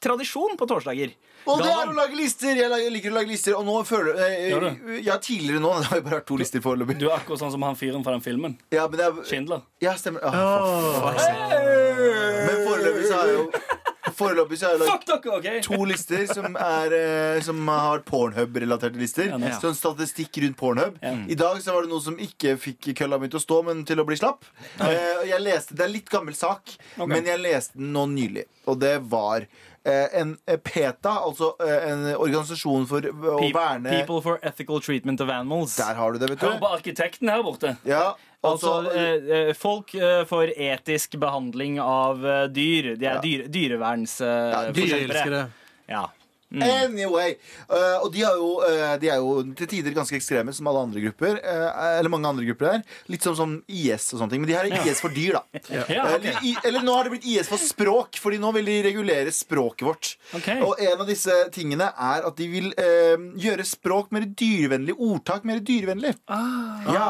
S6: tradisjon på torsdager.
S2: Og det er å
S6: Galvan,
S2: lage lister! Jeg lager- liker å lage lister. Og nå føler eh,
S3: Gjør
S2: Ja, tidligere nå. Det har jo bare vært to lister foreløpig.
S3: Du er akkurat sånn som han fyren fra den filmen.
S2: Ja, men jeg,
S3: Schindler.
S2: ja, stemmer. Ah, for faen. Men foreløpig så har jeg jo Foreløpig så har jeg lagd
S3: Fuck dere, OK?
S2: to lister som, er, eh, som har Pornhub-relaterte lister.
S3: nice.
S2: Sånn statistikk rundt Pornhub. I dag så var det noen som ikke fikk kølla mi til å stå, men til å bli slapp. Eh, og jeg leste, Det er litt gammel sak, men jeg leste den nå nylig, og det var eh, en eh, PETA, altså eh, en organisasjon for å
S6: Pe-
S2: verne
S6: People for Ethical Treatment of Animals.
S2: Der har du det, vet
S3: Hør
S2: du.
S3: på arkitekten her borte.
S2: Ja,
S6: Altså,
S2: Altså,
S6: eh, eh, folk eh, får etisk behandling av eh, dyr. De er dyre, Eh, dyrevernsforkjempere.
S7: Dyreelskere.
S6: ja.
S3: Mm.
S2: Anyway. eh, og de, har jo, eh, de er jo til tider ganske ekstreme, som alle andre grupper. eh, eller mange andre grupper der. Litt som sånn IS og sånne ting. Men de her er IS for dyr, da.
S3: Ja, ok.
S2: eller, i, eller nå har det blitt IS for språk, Fordi nå vil de regulere språket vårt.
S3: Ok.
S2: Og en av disse tingene er at de vil eh, gjøre språk mer dyrevennlig, ordtak mer dyrevennlig.
S3: Ah.
S2: Ja.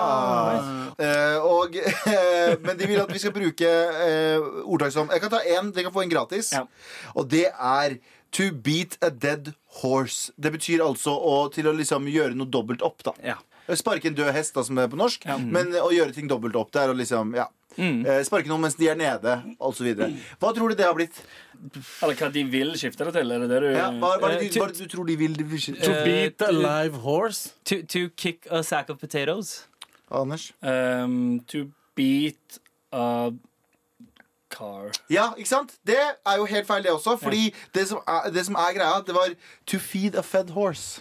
S2: Eh, og, eh, men de vil at vi skal bruke eh, ordtak som Jeg kan ta én, dere kan få en gratis.
S3: Ja.
S2: Og det er To beat a dead horse. Det betyr altså å, til å liksom gjøre noe dobbelt opp. da Eh,
S6: Ja.
S2: Sparke en død hest, da, som det er på norsk. Men å gjøre ting dobbelt opp. Det er å liksom, ja
S3: Mm.
S2: Eh, Sparke noen mens de er nede, osv. Hva tror du det har blitt?
S3: Eller hva de vil skifte det til. Er det det du
S2: Ja, hva, hva, er det,
S6: eh,
S2: du- hva er det du tror de vil? de vil-
S7: To
S2: to-
S7: beat a live horse.
S6: To, to kick a sack of potatoes.
S2: Anders?
S3: Ehm, To beat a car.
S2: Ja, ikke sant? Det er jo helt feil, det også. Fordi det, som er, det som er greia, det var to feed a fed horse.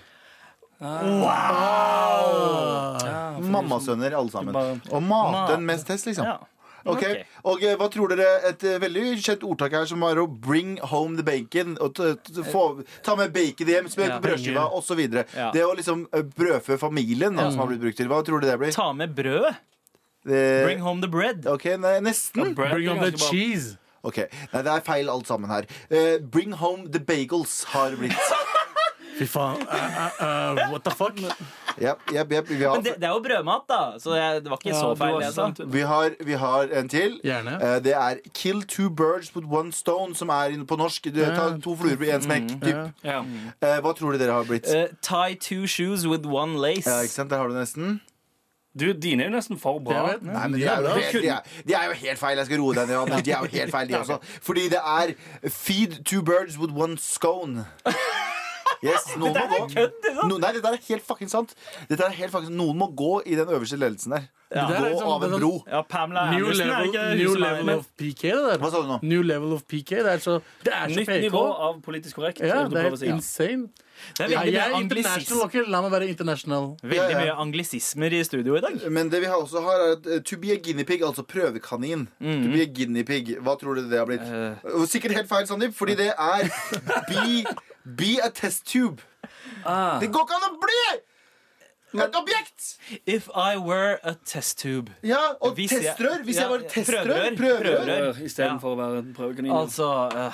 S6: Ah.
S2: Wow! Mammasønner, alle sammen.
S3: Bare-
S2: Og mate en mest hest, liksom.
S6: Ja.
S2: Ok,
S6: Ok.
S2: og eh, hva tror dere Et eh, veldig kjent ordtak her som var å bring home the bacon. Og t t få, ta med bacon hjem, smør
S6: Ja.
S2: på brødskiva osv.
S6: Ja.
S2: Det å liksom eh, brødfø familien, da, som har blitt brukt til. Hva tror du det blir?
S6: Ta med brødet.
S2: Eh,
S6: Bring home the bread.
S2: Ok, nei, nesten.
S7: Bring on the cheese.
S2: Ok, Nei, det er feil alt sammen her. Eh, bring home the bagels har blitt.
S7: Fy faen. eh, eh, eh, what the fuck?
S2: Jep, jep, jep, vi, har,
S6: Men det, det er jo brødmat, da, så jeg, det var ikke
S3: Ja,
S6: så
S3: du
S6: feil.
S3: har
S6: det altså. jeg sa.
S3: sant.
S2: vi, har, vi har en til.
S7: Gjerne.
S2: Eh, det er 'Kill two birds with one stone', som er inne på norsk. Du, ta to fluer i én smekk. typ.
S3: Ja.
S2: Eh, hva tror du dere har blitt?
S6: Eh, tie two shoes with one lace.
S2: Ja, ikke sant, Der har du nesten.
S3: Du, dine er jo nesten for
S7: Jeg
S3: bra.
S7: vet.
S2: Nei, men de
S7: De
S2: er, jo
S7: bra.
S2: helt, de, er, de er jo helt feil. Jeg skal roe deg ned. Anders. De er jo helt feil, de også. Fordi det er 'feed two birds with one scone'. Yes, noen må gå. No, nei, dette er helt fucking sant. Dette er helt fucking, sant. noen må gå i den øverste ledelsen der.
S7: Det
S2: Gå
S7: er liksom-
S2: av en
S7: det er
S2: bro.
S6: Ja, Pamela
S7: New
S6: Andersen er
S7: level,
S6: ikke
S7: new
S6: hun som er-
S7: level
S6: men-
S7: of PK,
S2: Hva
S7: det der.
S2: sa du nå?
S7: New level of PK. Det er så, det er så
S3: Nytt
S7: PK.
S3: nivå av politisk korrekt.
S7: Ja,
S3: vil du
S7: det er
S3: prøve å
S7: helt
S3: si. Ja.
S7: insane.
S6: Det er
S7: Ja,
S6: veldig
S7: jeg er
S6: mye
S7: international,
S6: anglisismer.
S7: ok? La meg være international.
S6: Veldig
S2: Ja, ja.
S6: mye anglisismer i studio i dag.
S2: Men det vi har også har, er at eh, to be a guinea pig, altså prøvekanin. To be a guinea pig, Hva tror du det har blitt? Og Sikkert helt feil, Sandeep, fordi det er be, be a test tube. Det går ikke an å bli et objekt!
S6: If I were a test tube.
S2: Ja, Og
S6: Hvis jeg-
S2: testrør. Hvis
S6: ja,
S2: jeg var et testrør,
S6: prøverør,
S2: prøverør.
S6: prøverør.
S3: Eh, Istedenfor å være en prøvekanin.
S6: Altså, eh,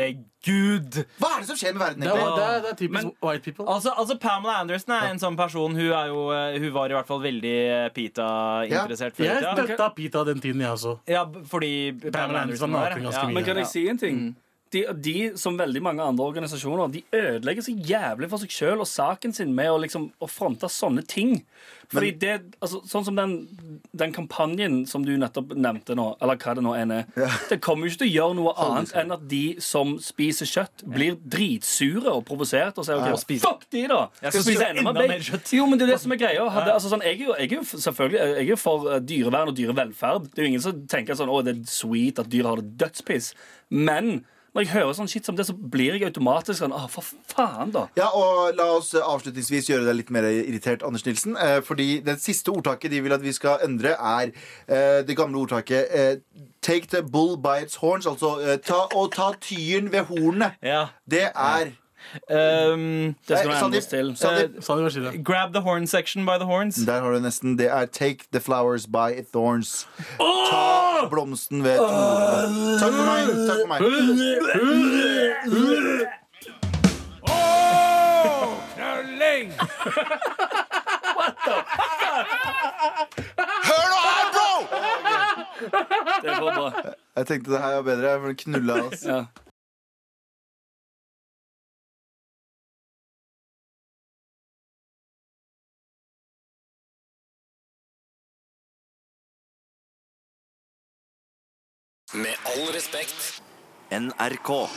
S6: herregud.
S2: Hva er det som skjer med verden?
S7: Det er,
S2: egentlig?
S7: det er, det er typisk white people.
S6: Altså, altså Pamela Andersen er en sånn person. Hun, er jo, eh, hun var i hvert fall veldig eh, Pita-interessert før. i
S7: Jeg
S6: tida.
S7: støtta Pita den tiden, jeg også.
S6: Ja, b- fordi Pamela Andersen
S7: var
S6: var
S7: naken
S6: det.
S7: ganske
S6: Ja. Men
S7: mye.
S3: Men kan
S6: Ja.
S3: jeg si en ting? De, de, som veldig mange andre organisasjoner, de ødelegger så jævlig for seg sjøl og saken sin med å, liksom, å fronte sånne ting. Fordi det, altså, Sånn som den, den kampanjen som du nettopp nevnte nå, eller hva det nå enn er, det kommer jo ikke til å gjøre noe annet enn at de som spiser kjøtt, blir dritsure og provosert og sier
S6: Ja.
S3: OK, fuck de, da!
S6: Jeg skal
S3: Skal spise
S6: spise
S3: enda
S6: enda mer
S3: mer bacon.
S6: kjøtt.
S3: Jo, men det er det som er greia. Hadde, altså, sånn, jeg, er jo, jeg er jo f- selvfølgelig jeg er jo for eh, dyrevern og dyrevelferd. Det er jo ingen som tenker sånn, å, det er sweet at dyr har det dødspiss. Men når jeg hører sånn shit som det, så blir jeg automatisk sånn, å, for faen da.
S2: Ja, og La oss eh, avslutningsvis gjøre deg litt mer irritert, Anders Nilsen. Eh, fordi det siste ordtaket de vil at vi skal endre, er eh, det gamle ordtaket eh, 'take the bull by its horns'. Altså eh, ta, å ta tyren ved hornet.
S6: Ja.
S2: Det er
S6: Um,
S3: Det skal
S2: Nei,
S3: det endres til.
S2: Sandeep,
S6: Eh,
S2: Sandeep.
S7: Sa du hva skjedde?
S6: grab the horn section by the horns.
S2: Der har du nesten. Det er 'take the flowers by its thorns'. Ta blomsten ved tornene. Takk for meg. Takk for meg. Hør nå her, bro!
S3: Det er for bra.
S2: Jeg tenkte det her var bedre. Jeg ville knulla oss.
S3: Ja.
S1: Med all respekt.
S8: NRK.